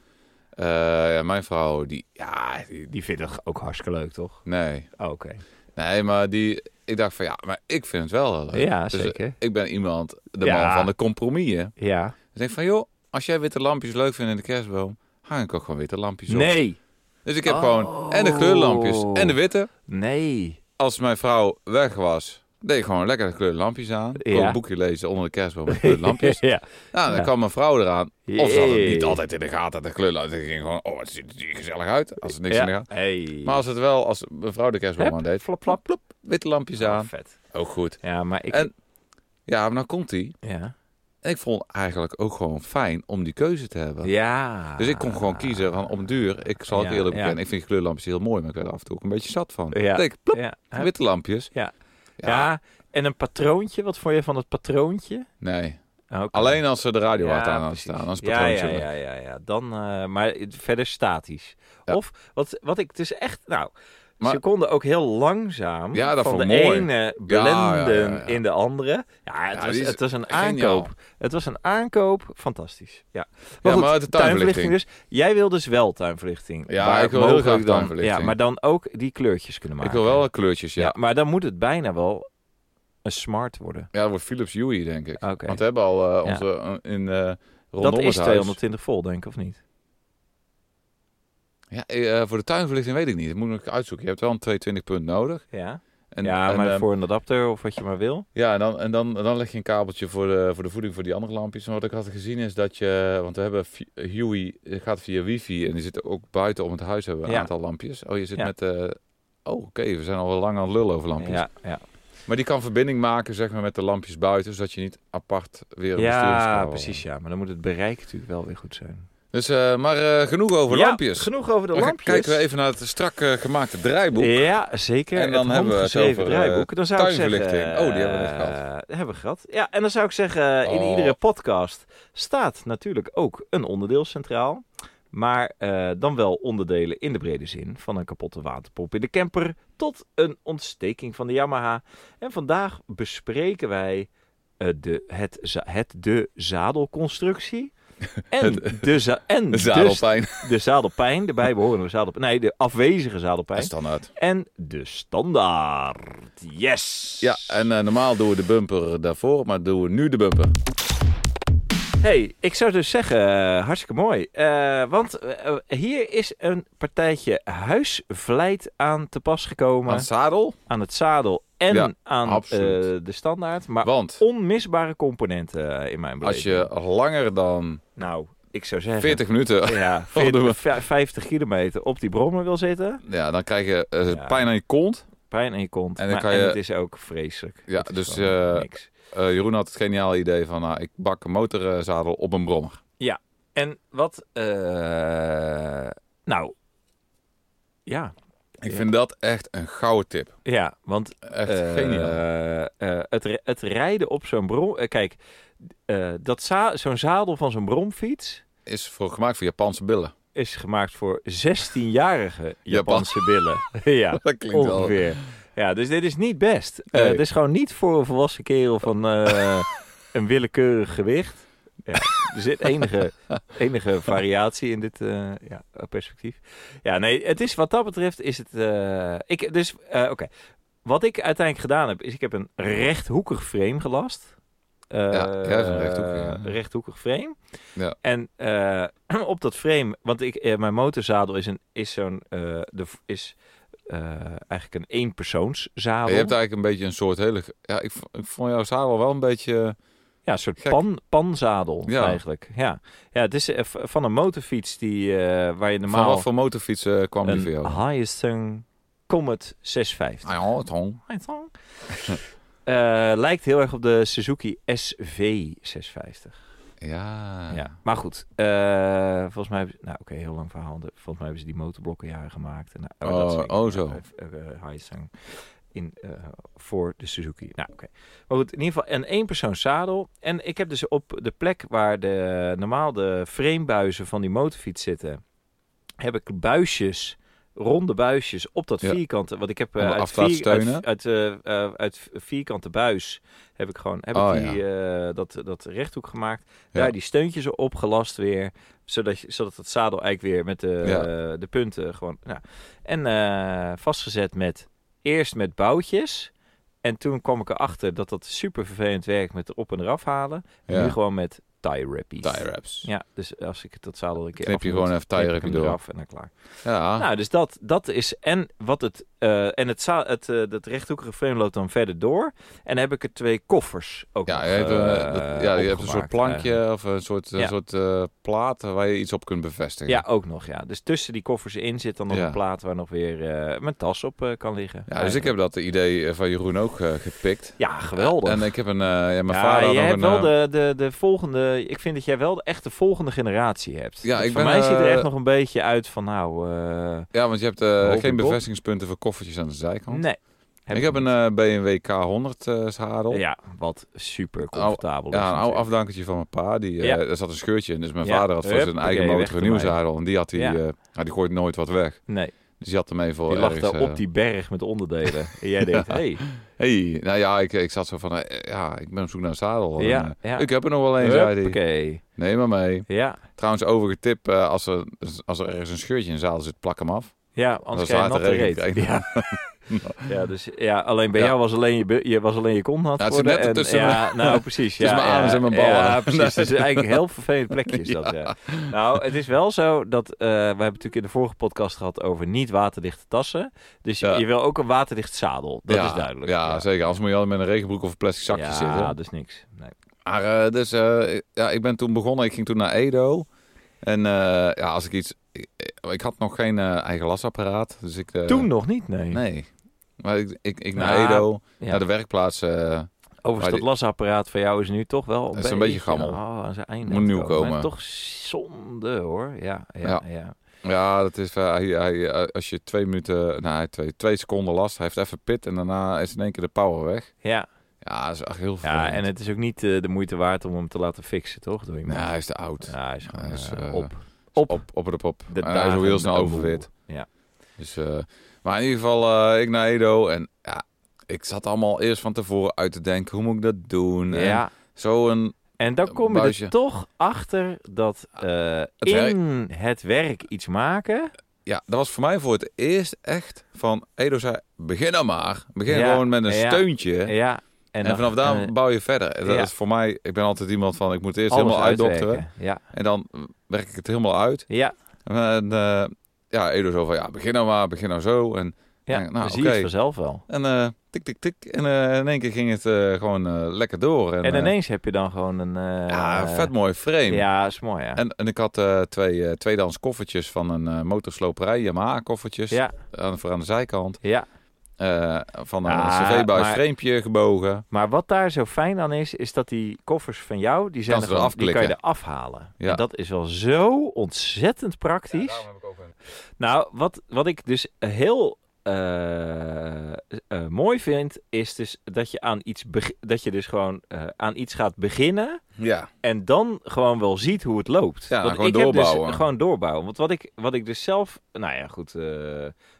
Eh, ja, mijn vrouw, die... Ja, die- die vindt het ook hartstikke leuk, toch? nee. Oh, Oké. Nee, maar die... Ik dacht van, ja, maar ik vind het wel heel leuk. Ja, Dus, zeker. ik ben iemand, de Ja. man van de compromissen. Dus Ja. Ik denk van, joh, als jij witte lampjes leuk vindt in de kerstboom, hang ik ook gewoon witte lampjes op. Nee. Dus ik heb Oh. gewoon en de kleurlampjes en de witte. Nee. Als mijn vrouw weg was, deed ik gewoon lekker de kleurlampjes aan. Kon Ja. een boekje lezen onder de kerstboom met kleurlampjes. ja. Nou, dan Ja. kwam mijn vrouw eraan. Of ze had het Jee. niet altijd in de gaten, de kleurlampjes. Ze ging gewoon, oh, het ziet er gezellig uit. Als er niks in de gaten. Hey. Maar als het wel, als mijn vrouw de kerstboom aan deed, flap, flap, plop. witte lampjes Ja, aan. vet. Ook goed. Ja, maar ik... En- Ja, maar dan komt die. ja. En ik vond eigenlijk ook gewoon fijn om die keuze te hebben. ja. Dus ik kon gewoon kiezen van om duur. Ik zal het Ja, eerlijk ja. bekennen. Ik vind kleurlampjes heel mooi, maar ik werd er af en toe ook een beetje zat van. Ja. Ik denk, plop, Ja. Ja. witte lampjes. Ja. Ja, En een patroontje. Wat vond je van het patroontje? Nee. Oh, oké. Alleen als ze de radio hard aan hadden precies. staan. Als ja, patroontje. ja, ja, ja, ja. Dan, eh, maar het- verder statisch. Ja. Of wat, wat ik dus echt, nou, Maar- ze konden ook heel langzaam Ja, dat van vond de ik mooi. ene Ja, blenden ja, ja, ja. in de andere. Ja, het, Ja, was, die is het was een geniaal. aankoop. Het was een aankoop, fantastisch. Ja, maar, Ja, goed, maar de tuinverlichting. dus. Jij wil dus wel tuinverlichting. Ja, Waar ik wil heel graag mogelijk dan- tuinverlichting. Ja, maar dan ook die kleurtjes kunnen Ik maken. wil wel kleurtjes, ja. ja. maar dan moet het bijna wel een smart worden. Ja, dat wordt Philips Huey, denk ik. Ah, Oké. Want we hebben al eh, Ja. onze eh, in eh rondom Dat is het huis. 220 vol, denk ik, of niet? Ja, eh, voor de tuinverlichting weet ik niet. Dat moet ik uitzoeken. Je hebt wel een 220 punt nodig. Ja. En, ja, en, maar eh, voor een ehm, adapter of wat je maar wil. Ja, en dan, en dan, dan leg je een kabeltje voor de, voor de voeding voor die andere lampjes. En wat ik had gezien is dat je... Want we hebben vi- Huey, het gaat via wifi. En die zit ook buiten om het huis hebben we een Ja. aantal lampjes. Oh, je zit Ja. met... eh, oh, oké. we zijn al wel lang aan het lullen over lampjes. Ja, ja. Maar die kan verbinding maken zeg maar, met de lampjes buiten. Zodat je niet apart weer een ja besturingskabel- precies. Ja. Maar dan moet het bereik natuurlijk wel weer goed zijn. Dus, eh, maar eh, genoeg over Ja, lampjes. Genoeg over de Dan gaan- lampjes. kijken we even naar het strak eh, gemaakte draaiboek. Ja, zeker. En dan het hebben we het handgeschreven over, eh, draaiboek. Dan zou ik zeggen, tuinverlichting. Oh, die hebben we net gehad. eh, hebben we gehad. Ja, en dan zou ik zeggen, in Oh. iedere podcast staat natuurlijk ook een onderdeel centraal. Maar eh, dan wel onderdelen in de brede zin. Van een kapotte waterpomp in de camper tot een ontsteking van de Yamaha. En vandaag bespreken wij eh, de, het, za- het de zadelconstructie. En, de, za- en De de, zadelpijn. de zadelpijn, de bijbehorende zadelpijn. Nee, de afwezige zadelpijn. Standaard. En de standaard. Yes! Ja, en eh, normaal doen we de bumper daarvoor. Maar doen we nu de bumper. Hey, ik zou dus zeggen, eh, hartstikke mooi. Eh, want eh, hier is een partijtje huisvlijt aan te pas gekomen. Aan het zadel. aan het zadel en Ja, aan absoluut. eh, de standaard. Maar Want onmisbare componenten eh, in mijn als beleving. je langer dan Nou, ik zou zeggen... 40 minuten... Ja, doen we? 40, vij- 50 kilometer op die brommer wil zitten. Ja, dan krijg je eh, Ja. pijn aan je kont. Pijn in je kont. En En, dan maar, kan en je- het is ook vreselijk. Ja, Het is dus, gewoon eh, niks. Eh, Jeroen had het geniale idee van... nou, ik bak een motorzadel op een brommer. En wat... eh, nou... Ja, Ik Ja. vind dat echt een gouden tip. ja, want Echt Eh, geniaal. eh, het, ri- het rijden op zo'n brom... eh, kijk, eh, dat za- zo'n zadel van zo'n bromfiets Is voor, gemaakt voor Japanse billen. is gemaakt voor 16-jarige Japanse billen. ja, Dat klinkt wel. ongeveer. Ja, dus dit is niet best. Eh, Nee. dit is gewoon niet voor een volwassen kerel van eh, een willekeurig gewicht. Ja, er zit enige, enige variatie in dit eh, ja, perspectief. Ja, nee, het is wat dat betreft is het... eh, ik, dus, eh, oké. Wat ik uiteindelijk gedaan heb, is ik heb een rechthoekig frame gelast. Eh, jij hebt een rechthoekig, ja. eh, rechthoekig frame. Ja. En eh, op dat frame, want ik, eh, mijn motorzadel is, een, is zo'n... eh, de, is eh, eigenlijk een eenpersoonszadel. Je hebt eigenlijk een beetje een soort hele... Ja, ik, v- ik vond jouw zadel wel een beetje... Ja, een soort Gek. pan, panzadel Ja. eigenlijk. Ja. ja, het is eh, v- van een motorfiets die, eh, waar je Van normaal wat voor motorfietsen eh, kwam die voor jou? een Hyasung Comet 650. Ah, ja, het hong. Eh, lijkt heel erg op de Suzuki SV 650. Ja. Ja. Maar goed, eh, volgens mij hebben ze... Nou oké, heel lang verhaal. De- Volgens mij hebben ze die motorblokken jaren gemaakt. En, nou, Oh, soort oh, dingen. zo. Eh, eh, eh, Hyosung in, eh, voor de Suzuki. Nou oké. Maar goed, in ieder geval een één zadel. En ik heb dus op de plek waar de, normaal de framebuizen van die motorfiets zitten... heb ik buisjes... Ronde buisjes op dat Ja. vierkante. Want ik heb eh, Om uit, af te laten vier- uit- steunen. uit, eh, eh, uit vierkante buis heb ik gewoon heb Oh, ik die, eh, dat, dat rechthoek gemaakt. Ja. Daar die steuntjes op gelast weer. Zodat, je, zodat het zadel eigenlijk weer met de, Ja. eh, de punten gewoon. Nou. En eh, vastgezet met eerst met boutjes. En toen kwam ik erachter dat dat super vervelend werkt met op en eraf halen. En Ja. nu gewoon met tie wrappies. Tie wraps. Ja. Ja, dus als ik dat zadel een keer Knip je af moet, gewoon even tie Ah. knip ik wrap hem door. eraf en dan klaar. Nou, dus dat, dat is. En wat het. eh, en het, za- het eh, dat rechthoekige frame loopt dan verder door. En heb ik er twee koffers ook. Ja, nog, je hebt, eh, eh, dat- ja, je hebt een opgemaakt soort eh. plankje eigenlijk. of een soort, een Ja. soort eh, plaat waar je iets op kunt bevestigen. Ja, ook nog. Ja. Dus tussen die koffers in zit dan nog Ja. een plaat waar nog weer eh, mijn tas op eh, kan liggen. Ja, dus ik heb dat idee eh, van Jeroen ook eh, gepikt. Ja, geweldig. En ik heb een... eh, ja, mijn ja, vader had jij nog hebt een... wel eh, de, de, de volgende. Ik vind dat jij wel de, echt de volgende generatie hebt. Ja, Dat ik voor ben, mij ziet er eh, echt nog een beetje uit van nou. eh, Ja, want je hebt eh, Hoge geen kop. bevestigingspunten voor koffertjes aan de zijkant. nee. ik heb een niet. eh, BMW K100 eh zadel. ja, wat super comfortabel. is Ja, een oude natuurlijk. afdankertje van mijn pa. Die, eh Ja. er zat een scheurtje in. Dus mijn Ja. vader had voor Hup, zijn oké, eigen weg motor een nieuw ermee. zadel. En die had hij, Ja. eh, nou, die gooit nooit wat weg. Nee. Dus die had hem even Die lag ergens, daar eh, op die berg met onderdelen. En jij denkt, hey, hey, nou ja, ik, ik zat zo van, eh, ja, ik ben op zoek naar een zadel. En, Ja, eh, ja. Ik heb er nog wel een, zei hij. oké. Neem maar mee. Ja, Trouwens, overige tip, eh, als, er, als er ergens een scheurtje in een zadel zit, plak hem af. ja, anders krijg Dan je slaat nog de de regen reet. Ja. ja, dus ja, alleen bij Ja. jou was alleen je, be- je, was alleen je kont nat Ja, het zit geworden net en- tussen ja, nou precies. tussen ja, mijn anus ja, en mijn ballen. Ja, precies. Het is eigenlijk heel vervelend plekje is dat, ja. Nou, het is wel zo dat, eh, we hebben natuurlijk in de vorige podcast gehad over niet waterdichte tassen. Dus je- Ja. je wil ook een waterdicht zadel, dat ja, is duidelijk. Ja, zeker. Anders moet je altijd met een regenbroek of een plastic zakje ja, zitten. dat is niks. Nee. Maar eh, dus, eh, ja, ik ben toen begonnen. Ik ging toen naar Edo. En eh, ja, als ik iets... Ik, ik had nog geen eh, eigen lasapparaat. Dus ik... eh, Toen nog niet, nee. Nee. Maar ik, ik, ik naar Nou, Edo, Ja. naar de werkplaats. eh, Overigens, Maar dat lasapparaat van jou is nu toch wel Dat is een beetje gammel. Oh, aan zijn einde. Moet nieuw ook. komen. Maar toch zonde hoor. Ja, ja, ja. ja. ja, dat is... eh, hij, hij, eh, als je twee minuten... Nou, hij twee, twee seconden last. Hij heeft even pit en daarna is in één keer de power weg. Ja. Ja, dat is echt heel veel. en het is ook niet eh, de moeite waard om hem te laten fixen, toch? Door iemand. Nee, hij is te oud. Ja, hij is gewoon Nou, Hij is, eh, eh, op. Op, op, op. op, Eh, De En hij is ook dagen heel snel te oververhit. moe. Ja. Dus, eh, maar in ieder geval, eh, ik naar Edo. En ja, ik zat allemaal eerst van tevoren uit te denken. Hoe moet ik dat doen? En ja. zo een... En dan Een kom je buisje. er toch achter dat eh, werk. in het werk iets maken. Ja, dat was voor mij voor het eerst echt van... Edo zei, begin dan maar. Begin Ja, gewoon met een ja. steuntje. Ja. En, en, dan- vanaf daar eh, bouw je verder. En Dat ja. is voor mij... Ik ben altijd iemand van, ik moet eerst alles helemaal uitdokteren. uitwerken. Ja. En dan werk ik het helemaal uit. Ja. En eh, ja, Edo zo van, ja, begin nou maar, begin nou zo. En, Ja. Nou, dan zie je oké. het vanzelf wel. en eh, tik, tik, tik. En eh, in één keer ging het eh, gewoon eh, lekker door. En, En eh, ineens heb je dan gewoon een... eh, Ja, een vet mooi frame. Ja, is mooi, ja. En, en ik had eh, twee eh, tweedehands koffertjes van een eh, motorsloperij, Yamaha koffertjes, ja, aan, voor aan de zijkant. ja. eh, van een Ah, cv-buis maar- framepje gebogen. Maar wat daar zo fijn aan is, is dat die koffers van jou, die, zijn er Kan ze gewoon, eraf die kan je klikken. eraf halen. Ja. En dat is wel zo ontzettend praktisch. Nou, wat, wat ik dus heel eh, eh, mooi vind, is dus dat je aan iets, beg- dat je dus gewoon eh, aan iets gaat beginnen. Ja, En dan gewoon wel ziet hoe het loopt. Ja, Want gewoon ik heb doorbouwen. dus gewoon doorbouwen. Want wat ik, wat ik dus zelf... Nou ja, goed. eh,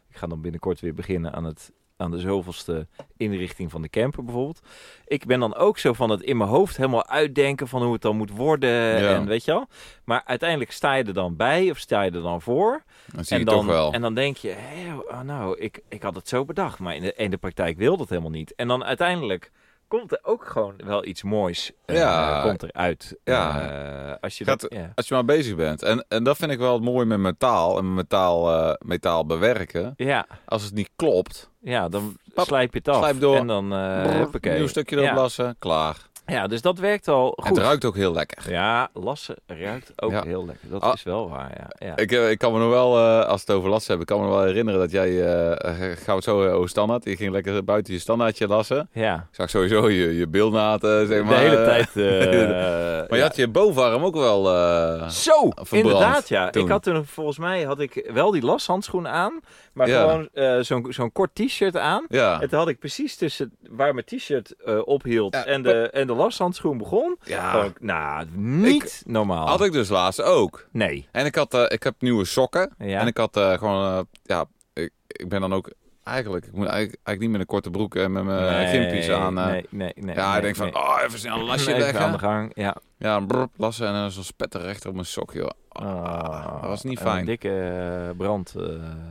ik ga dan binnenkort weer beginnen aan het aan de zoveelste inrichting van de camper bijvoorbeeld. Ik ben dan ook zo van het in mijn hoofd helemaal uitdenken van hoe het dan moet worden en weet je wel. Maar uiteindelijk sta je er dan bij of sta je er dan voor. Dat zie en, je dan, toch wel. en dan denk je, hé, oh, nou, ik, ik had het zo bedacht, maar in de, in de praktijk wil dat helemaal niet. En dan uiteindelijk komt er ook gewoon wel iets moois eh, Ja. komt eruit. Ja. Eh, als je Gaat- dat, ja. Als je maar bezig bent. En, en dat vind ik wel het mooie met metaal en metaal, eh, metaal bewerken. ja, Als het niet klopt, ja, dan Pap, slijp je het af. slijp door. En dan, eh brrr, huppakee. nieuw stukje erop ja. lassen, klaar. Ja, dus dat werkt al En het goed. ruikt ook heel lekker. Ja, lassen ruikt ook Ja. heel lekker. Dat Ah. is wel waar, ja. ja. Ik, eh, ik kan me nog wel, eh, als we het over lassen hebben, ik kan me nog wel herinneren dat jij, eh, eh, gaan we het zo eh, over standaard, je ging lekker buiten je standaardje lassen. ja. Ik zag sowieso je, je bilnaad, eh, zeg De maar. hele eh, tijd... eh, Maar je ja. had je bovenarm ook wel... eh, Zo, verbrand inderdaad ja. toen. Ik had toen volgens mij had ik wel die lashandschoen aan, maar Ja. gewoon eh, zo'n zo'n kort t-shirt aan. ja. En toen had ik precies tussen waar mijn t-shirt eh, ophield Ja, en, de, en de lashandschoen begon. ja. gewoon, nou, niet normaal. Had ik dus laatst ook. Nee. En ik, had, eh, ik heb nieuwe sokken. Ja. En ik had eh, gewoon, eh, ja, ik, ik ben dan ook eigenlijk, ik moet eigenlijk, eigenlijk niet met een korte broek en met mijn Nee, gimpies eh, aan. eh. nee, nee, nee. ja, nee, ik denk van, nee. oh, even snel een lasje Even aan de leggen. gang, ja. Ja, brrr, lassen en dan zo'n spetter recht op mijn sok, joh. Ah, Oh, dat was niet een fijn. dikke eh, brand eh,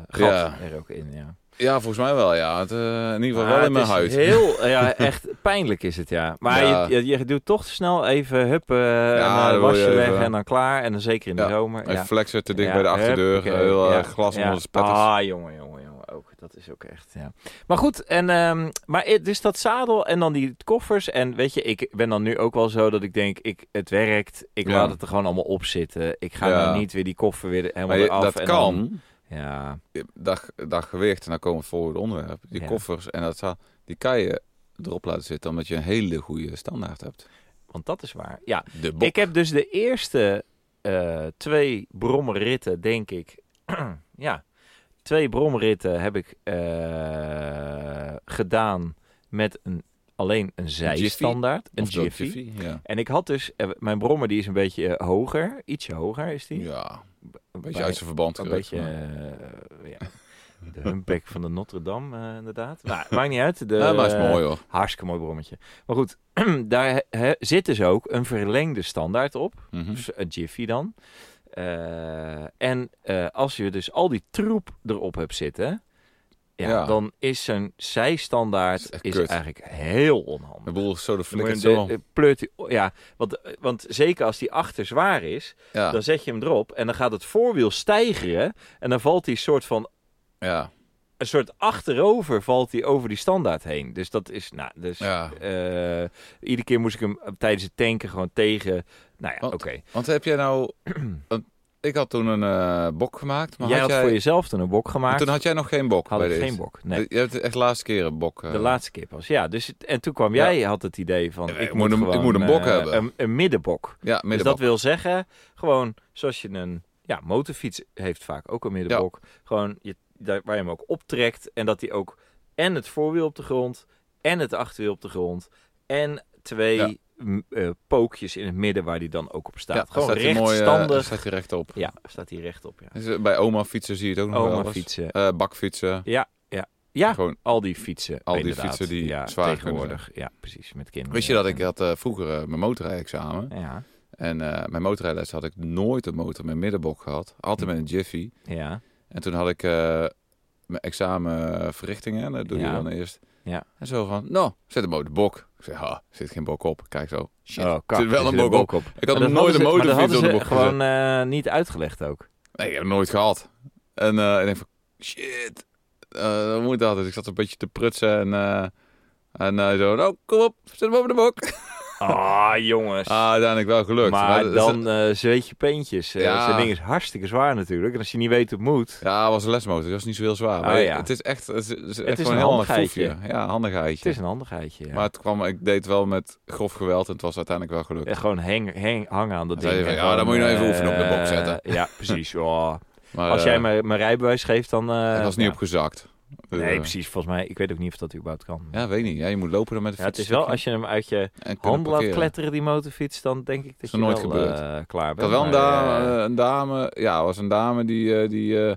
gat Ja. er ook in, ja. Ja, volgens mij wel, ja. Het, eh, in ieder geval Ah, wel in mijn het huid. is Heel, ja, echt pijnlijk is het, ja. Maar Ja. Je, je, je doet toch snel even huppen, Ja, en een dan wil je wasje even- leggen en dan klaar. En dan zeker in de Ja, zomer. Hij Ja. flexen te dicht Ja, bij de achterdeur. huppakee, heel eh, ja, glas ja. onder de spetters. Ah, jongen, jongen, jongen. Ook, dat is ook echt, ja. Maar goed, en, ehm, maar i- dus dat zadel en dan die koffers. En weet je, ik ben dan nu ook wel zo dat ik denk, ik, het werkt. Ik Ja. laat het er gewoon allemaal op zitten. Ik ga Ja. nou niet weer die koffer weer helemaal maar je- eraf. dat en kan. dan- ja, Dat, dat gewicht, en dan komen we voor het onderwerp. Die Ja. koffers en dat za- die kan je erop laten zitten omdat je een hele goede standaard hebt. want dat is waar. Ja, De bok. Ik heb dus de eerste eh, twee brommerritten, denk ik. ja, twee brommerritten heb ik eh, gedaan met een, alleen een zijstandaard. Een Of de jiffy. Jiffy, Ja. En ik had dus, eh, mijn brommer die is een beetje eh, hoger, ietsje hoger is die. ja, een beetje Bij- uit zijn verband een gerukt, beetje, maar- eh, ja. De humpback van de Notre Dame, eh, inderdaad. Nou, maakt niet uit. De, Ja, maar is mooi hoor. Hartstikke mooi brommetje. Maar goed, daar hè, zit dus ook een verlengde standaard op. Mhm. Dus een Jiffy dan. Eh, en eh, als je dus al die troep erop hebt zitten, ja, Ja. dan is zo'n zijstandaard Is echt is kut. eigenlijk heel onhandig. De boel is zo de Dan moet flikker je hem zo. de- eh, pleurt hij- oh, ja, want, eh, want zeker als die achter zwaar is, Ja, dan zet je hem erop en dan gaat het voorwiel stijgeren en dan valt hij soort van ja, een soort achterover valt hij over die standaard heen. Dus dat is, nou, dus ja. eh, iedere keer moest ik hem eh, tijdens het tanken gewoon tegen. Nou ja, Want- oké. Want heb jij nou... want ik had toen een eh, bok gemaakt, maar jij had had jij... voor jezelf toen een bok maar gemaakt. toen had jij nog geen bok had bij ik deze. geen bok. Nee, Je hebt echt de laatste keer een bok. eh, de laatste keer pas. Ja, dus, het- en toen kwam Ja. jij, had het idee van... Ik Ik, moet moet een- ik gewoon, moet een bok eh, hebben. Een, een middenbok. Ja, Dus middenbok. dat wil zeggen, gewoon zoals je een... Ja, motorfiets heeft vaak ook een middenbok. Gewoon je, daar, waar je hem ook optrekt. En dat hij ook en het voorwiel op de grond... en het achterwiel op de grond... en twee Ja. m, eh, pookjes in het midden waar die dan ook op staat. Ja, gewoon staat hij mooi, eh, rechtstandig. staat hij rechtop. ja, staat hij rechtop. Ja. Dus, eh, bij oma fietsen zie je het ook nog wel Oma eens. fietsen. Eh, bakfietsen. Ja, ja. Ja, Gewoon, Al die fietsen. Al die inderdaad. fietsen die ja, zwaar kunnen tegenwoordig. Ja, precies. Met kinderen. wist je dat ik En- had eh, vroeger eh, mijn motorrijexamen. Ja, En eh, mijn motorrijles had ik nooit een motor met middenbok gehad. Altijd Mhm. met een jiffy. ja. En toen had ik eh, mijn examen eh, verrichtingen. Dat doe je Ja. dan eerst. Ja. En zo van, nou, zet hem op de bok. Ik zei, ha, zit geen bok op. Kijk zo. Shit. Oh, kak, zit er wel een bok op. op. Ik had Maar hem dat nooit een hadden ze- maar dat motorfiets op de hadden ze bok gezet. gewoon eh, niet uitgelegd ook. Nee, ik heb hem nooit gehad. En eh, ik denk van, shit, eh, hoe moet dat? Dus ik zat een beetje te prutsen en, eh, en eh, zo, nou, kom op, zet hem op de bok. Ah, jongens. Ah, uiteindelijk wel gelukt. maar dat- dan eh zweet je peentjes. Eh, Ja. Zo'n ding is hartstikke zwaar natuurlijk. En als je niet weet hoe het moet... Ja, het was een lesmotor, dat was niet zo heel zwaar. maar Oh, ja. Het is echt, het is, het is echt is gewoon een heel handigheidje. foefje. Ja, een handigheidje. Het is een handigheidje. Ja. Maar het kwam, ik deed het wel met grof geweld en het was uiteindelijk wel gelukt. Eh, gewoon hang, hang, hangen aan dat Dan ding. zei je van, En ja, dan gewoon, moet je nou even eh, oefenen op de bok zetten. Ja, precies. Oh. Maar, Als eh, jij mijn mijn rijbewijs geeft, dan... eh, ik was niet ja. opgezakt. Nee, Eh, precies. Volgens mij, ik weet ook niet of dat überhaupt kan. Ja, weet niet. Ja, je moet lopen dan met de Ja, fiets. het is wel, als je hem uit je en kunnen hand laat parkeren. kletteren, die motorfiets, dan denk ik dat Is je nog nooit wel gebeurd. eh, klaar Ik bent. had wel een maar, dame, eh, eh, een dame ja, was een dame die, eh, die eh,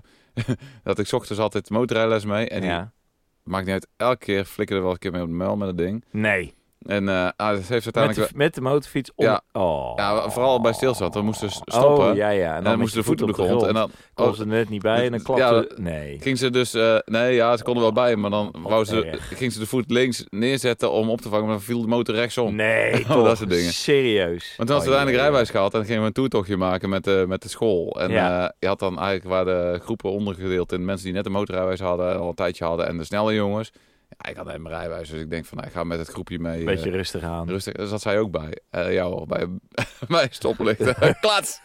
dat ik 's ochtends altijd motorrijles mee en ja. die maakt niet uit. Elke keer flikker er wel een keer mee op de muil met dat ding. Nee. En eh ah, dat heeft Met uiteindelijk... de, met de motorfiets om. Ja. Oh. Ja, vooral bij stilstand. Dan moesten ze stoppen. Oh, ja, ja. En dan moesten de voeten op de grond. En dan Oh, Komt ze er net niet bij en dan klapte... Ja, dat- nee. ging ze dus... eh, nee, ja, ze konden wel bij, maar dan Oh, wou ze, erg. ging ze de voet links neerzetten om op te vangen. Maar dan viel de motor rechtsom. Nee, Oh, toch. dat soort dingen. Serieus. Want toen had ze Oh, uiteindelijk jee. rijbewijs gehad en gingen we een toertochtje maken met de, met de school. En Ja. eh, je had dan eigenlijk waar de groepen ondergedeeld in mensen die net een motorrijwijs hadden en al een tijdje hadden en de snelle jongens. Ja, ik had helemaal mijn rijwijs, dus ik denk van nou, ik ga met het groepje mee. Beetje eh, rustig aan. rustig. Daar zat zij ook bij. Eh jou hoor, bij, bij stoplichten. Klats!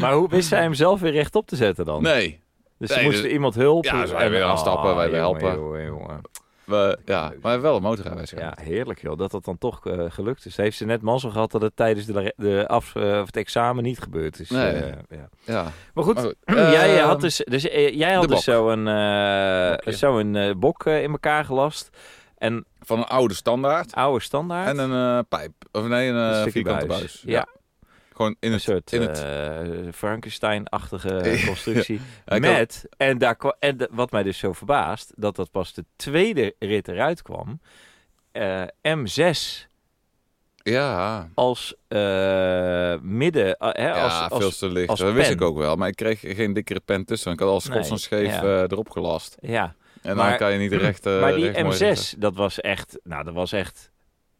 Maar hoe wist zij hem zelf weer rechtop te zetten dan? Nee. Dus Nee, er moest dus- iemand hulp. Ja, dus wij En- weer afstappen, Ah, wij weer jongen, helpen. jongen, jongen. We, ja, maar wel een motorrijwijs gehad. Ja, heerlijk joh. Dat dat dan toch eh, gelukt is. Heeft ze net mazzel gehad dat het tijdens de, de af, eh, of het examen niet gebeurd is. Nee. Eh, ja. Ja. Maar goed, Maar goed, jij eh, had dus, dus, eh, jij de had bok. dus zo'n Bokje. eh zo'n, eh, bok eh, in elkaar gelast. En Van een oude standaard oude standaard. en een eh, pijp. Of nee, een eh, Een stukje vierkante buis. buis. Ja, Gewoon in een het... soort in het- eh, Frankenstein-achtige eh, constructie. Ja, ik had- Met, en, daar, kwa- en de- wat mij dus zo verbaast, dat dat pas de tweede rit eruit kwam. eh, M6 ja. als eh, midden, ah, hè, als, ja, als- veel te licht. als dat wist pen. ik ook wel, maar ik kreeg geen dikkere pen tussen. Ik had al schots Nee, en scheef ja. eh, erop gelast. ja. En Maar- dan kan je niet recht. eh, maar die recht mooi M6, zitten. dat was echt, nou, dat was echt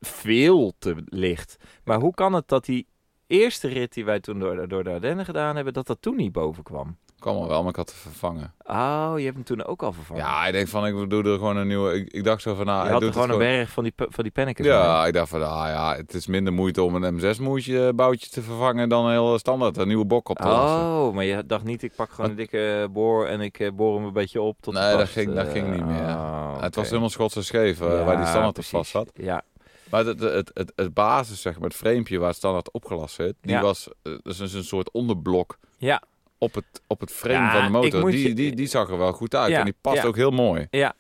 veel te licht. Maar hoe kan het dat die eerste rit die wij toen door, door de Ardennen gedaan hebben, dat dat toen niet boven kwam? Kwam al wel, maar ik had het vervangen. Oh, je hebt hem toen ook al vervangen. Ja, ik denk van, ik doe er gewoon een nieuwe. Ik, ik dacht zo van, nou, Oh. je ik had doe er het gewoon een berg van die, pe- van die pennekes mee. Ja, ik dacht van, ah ja, het is minder moeite om een M6-boutje eh, te vervangen dan een heel standaard, een nieuwe bok op te lassen. Oh, maar je dacht niet, ik pak gewoon een dikke boor en ik eh, boor hem een beetje op tot Nee, het dat past. ging- dat Eh, ging niet meer, ja. ah, Het was oké. helemaal schots en scheef eh, waar Ja, die standaard op precies. vast zat. Ja, Maar het, het, het, het basis, zeg maar, het framepje waar het standaard opgelast zit, die Ja. was eh, dus een- een soort onderblok Ja. op, het, op het frame Ja, van de ik motor. moet Die, je- die, die zag er wel goed uit Ja, en die past ja. ook heel mooi. ja,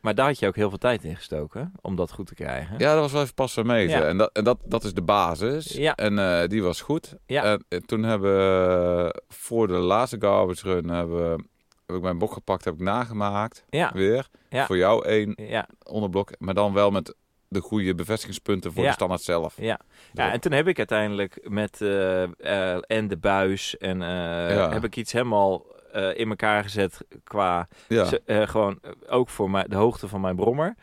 maar daar had je ook heel veel tijd in gestoken om dat goed te krijgen. Ja, dat was wel even pas meten. Ja. En, dat, en dat, dat is de basis. Ja. En eh, die was goed. Ja. En, eh, toen hebben we voor de laatste garbage run hebben, we- heb ik mijn bok gepakt, heb ik nagemaakt. Ja. Weer. Ja. Voor jou één Ja, onderblok, maar dan wel met de goede bevestigingspunten voor Ja. de standaard zelf. ja. ja, en toen heb ik uiteindelijk met eh, eh, en de buis en eh, Ja. heb ik iets helemaal eh, in elkaar gezet qua Ja. ze- eh, gewoon eh, ook voor mij, de hoogte van mijn brommer.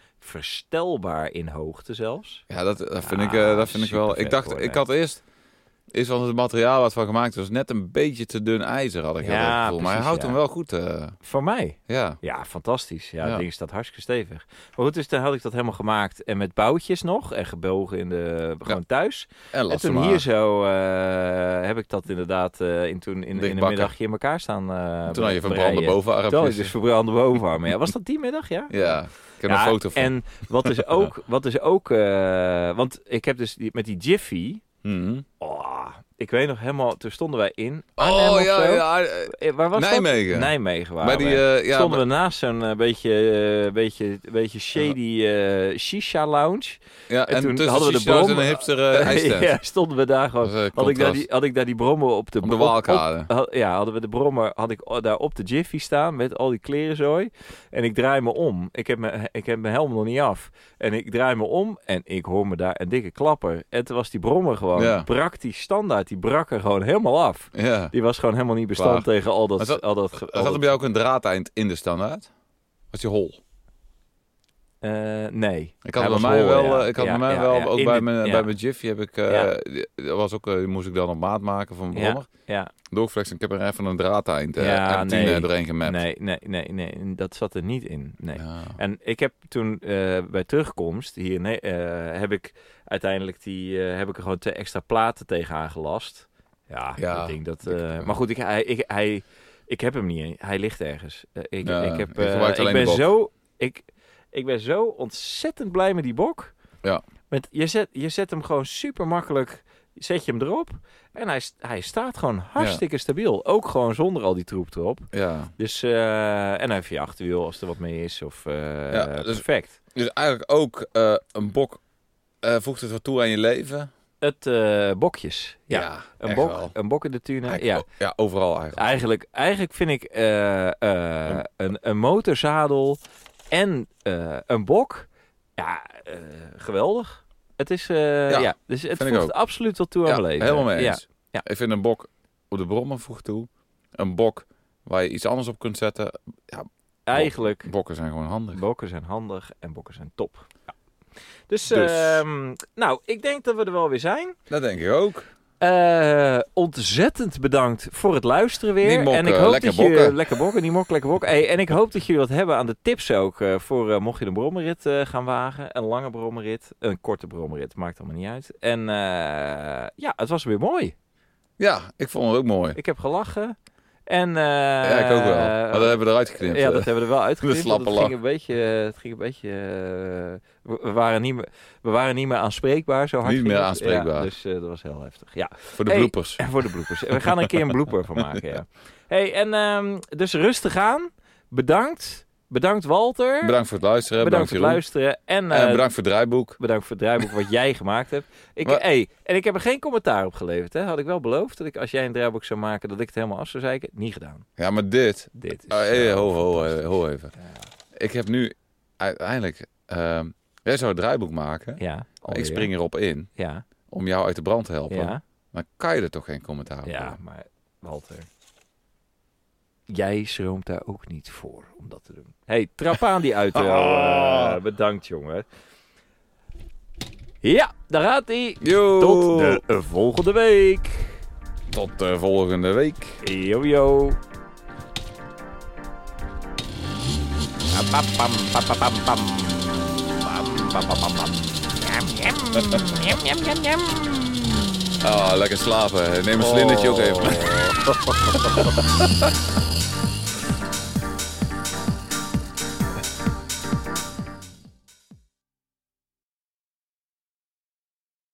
Verstelbaar in hoogte zelfs. Ja, dat, dat vind, Ja, ik, eh, dat vind ik wel. Ik supervet dacht, hoor, ik nee. had eerst. Is van het materiaal wat van gemaakt was net een beetje te dun ijzer, had ik Ja, heel erg het gevoel. Maar hij precies, houdt ja. hem wel goed. eh, Voor mij. ja. Ja, fantastisch. Ja, Ja. het ding staat hartstikke stevig. Maar goed, dus dan had ik dat helemaal gemaakt. En met boutjes nog. En gebogen in de, gewoon thuis. En last en toen hier zo eh, heb ik dat inderdaad eh, in, toen in, in een Dichtbakken. middagje in elkaar staan eh Toen had je verbrande breien. Toen had ik bovenarmpjes. dus verbrande bovenarmen. Ja, was dat die middag? Ja. Ja, ik heb Ja, een foto van. En wat is ook... Wat is ook eh, want ik heb dus die, met die Jiffy... Mhm. Oh, ik weet nog helemaal... Toen stonden wij in Arnhem Oh of ja, zo. ja. eh, Eh, Waar was dat? Nijmegen. Nijmegen waren Bij die, wij. eh, ja, stonden we naast zo'n eh, beetje, eh, beetje, beetje shady eh, shisha lounge. ja, en, en toen tussen hadden we de Shisha's bron- en een hipster eh ijstent. ja, stonden we daar Dat gewoon. was, eh, Had ik, daar contrast. die, had ik daar die brommen op de, Op de op- op- Waalkade. had- ja, hadden we de brommer, had ik o- daar op de jiffy staan met al die klerenzooi. En ik draai me om. Ik heb, me, ik heb mijn helm nog niet af. En ik draai me om en ik hoor me daar een dikke klapper. En toen was die brommer gewoon, Ja. brak die standaard, die brak er gewoon helemaal af. Ja. Die was gewoon helemaal niet bestand Klaar. tegen al dat... Maar zat- al dat, ge- al Zat er dat- bij jou ook een draadeind in de standaard? Was die hol? Eh, nee. Ik had Hij was bij mij hol, wel, ja. eh, ik had Ja, bij mij ja, wel, ja. ook In bij, de- mijn, ja. bij mijn Jiffy heb ik, eh, Ja. die- die was ook, eh, die moest ik dan op maat maken van brommer. Ja, Doorflex, ik heb er even een draadeind eh Ja, M10 nee. eh, doorheen ja. gemapt. Nee, nee, nee, nee, dat zat er niet in. Nee. Ja. En ik heb toen eh, bij terugkomst hier nee, eh, heb ik uiteindelijk die eh, heb ik er gewoon twee extra platen tegenaan gelast. Ja, Ja, ik denk dat. ik- eh, maar goed, ik, hij, ik, hij, ik heb hem niet. Hij ligt ergens. Eh, ik, Ja, ik, heb, je eh, gebruikt ik alleen ben de bok. zo. Ik, ik ben zo ontzettend blij met die bok. Ja. Met, je, zet, je zet hem gewoon super makkelijk. Zet je hem erop. En hij, st- hij staat gewoon hartstikke stabiel. Ook gewoon zonder al die troep erop. Ja. Dus, eh, en hij heeft je achterwiel als er wat mee is. Of, eh, Ja, dus- perfect. Dus eigenlijk ook eh, een bok eh, voegt het wat toe aan je leven. Het eh, bokjes. Ja, een, echt bok, wel. een bok in de tune. Eigenlijk Ja. o- ja, overal eigenlijk. Eigenlijk, eigenlijk vind ik eh, eh, een, een motorzadel en eh, een bok. Ja, eh, geweldig. Het is, eh, Ja, ja, dus het vind ik ook. voegt absoluut wat toe aan Ja, mijn leven. helemaal mee Ja, eens. Ik vind een bok op de brommer vroeg toe. Een bok waar je iets anders op kunt zetten. eigenlijk. Bokken zijn gewoon handig. Bokken zijn handig en bokken zijn top. Ja. Dus, Dus. ehm, nou, ik denk dat we er wel weer zijn. Dat denk ik ook. Eh, ontzettend bedankt voor het luisteren weer. Niet mokken, en ik hoop lekker dat je, bokken. Lekker bokken, niet mokken, lekker bokken. Hey, en ik hoop dat jullie wat hebben aan de tips ook. eh, voor eh, mocht je een brommerrit eh, gaan wagen. Een lange brommerrit, een korte brommerrit. Maakt allemaal niet uit. En eh, ja, het was weer mooi. Ja, ik vond het ook mooi. Ik heb gelachen. En, eh, ja, ik ook wel. Maar dat hebben we eruit geknipt. eh, Ja, dat hebben we er wel uitgeknipt. slappe want het ging lach. een beetje, eh, het ging een beetje eh, we- we, waren niet meer, we waren niet meer aanspreekbaar. Zo hard Niet ging meer het. aanspreekbaar. Ja, dus eh, dat was heel heftig. Ja, Voor de Hey. bloepers. en voor de bloepers. We gaan er een keer een blooper van maken. Ja. Hey, en ehm, dus rustig aan. Bedankt. Bedankt Walter. Bedankt voor het luisteren. Bedankt Bedankt, voor het Jeroen. luisteren. En eh, En bedankt voor het draaiboek. bedankt voor het draaiboek wat jij gemaakt hebt. Ik, Maar- hey, en ik heb er geen commentaar op geleverd. Hè. Had ik wel beloofd dat ik als jij een draaiboek zou maken, dat ik het helemaal af zou zeiken. Niet gedaan. Ja, maar dit. Dit is Ah, hey, zo ho, ho, fantastisch. eh, ho even. Ik heb nu uiteindelijk. ehm, jij zou het draaiboek maken. Ja, alweer. Ik spring erop in Ja, om jou uit de brand te helpen. ja, Dan kan je er toch geen commentaar op ja, hebben? maar Walter. Jij schroomt daar ook niet voor om dat te doen. hey, trap aan die uit. Ah. bedankt, jongen. Ja, daar gaat hij. Yo! Tot de volgende week. Tot de volgende week. Yo, yo. Oh. Ah, lekker slapen. Neem een slindertje ook even.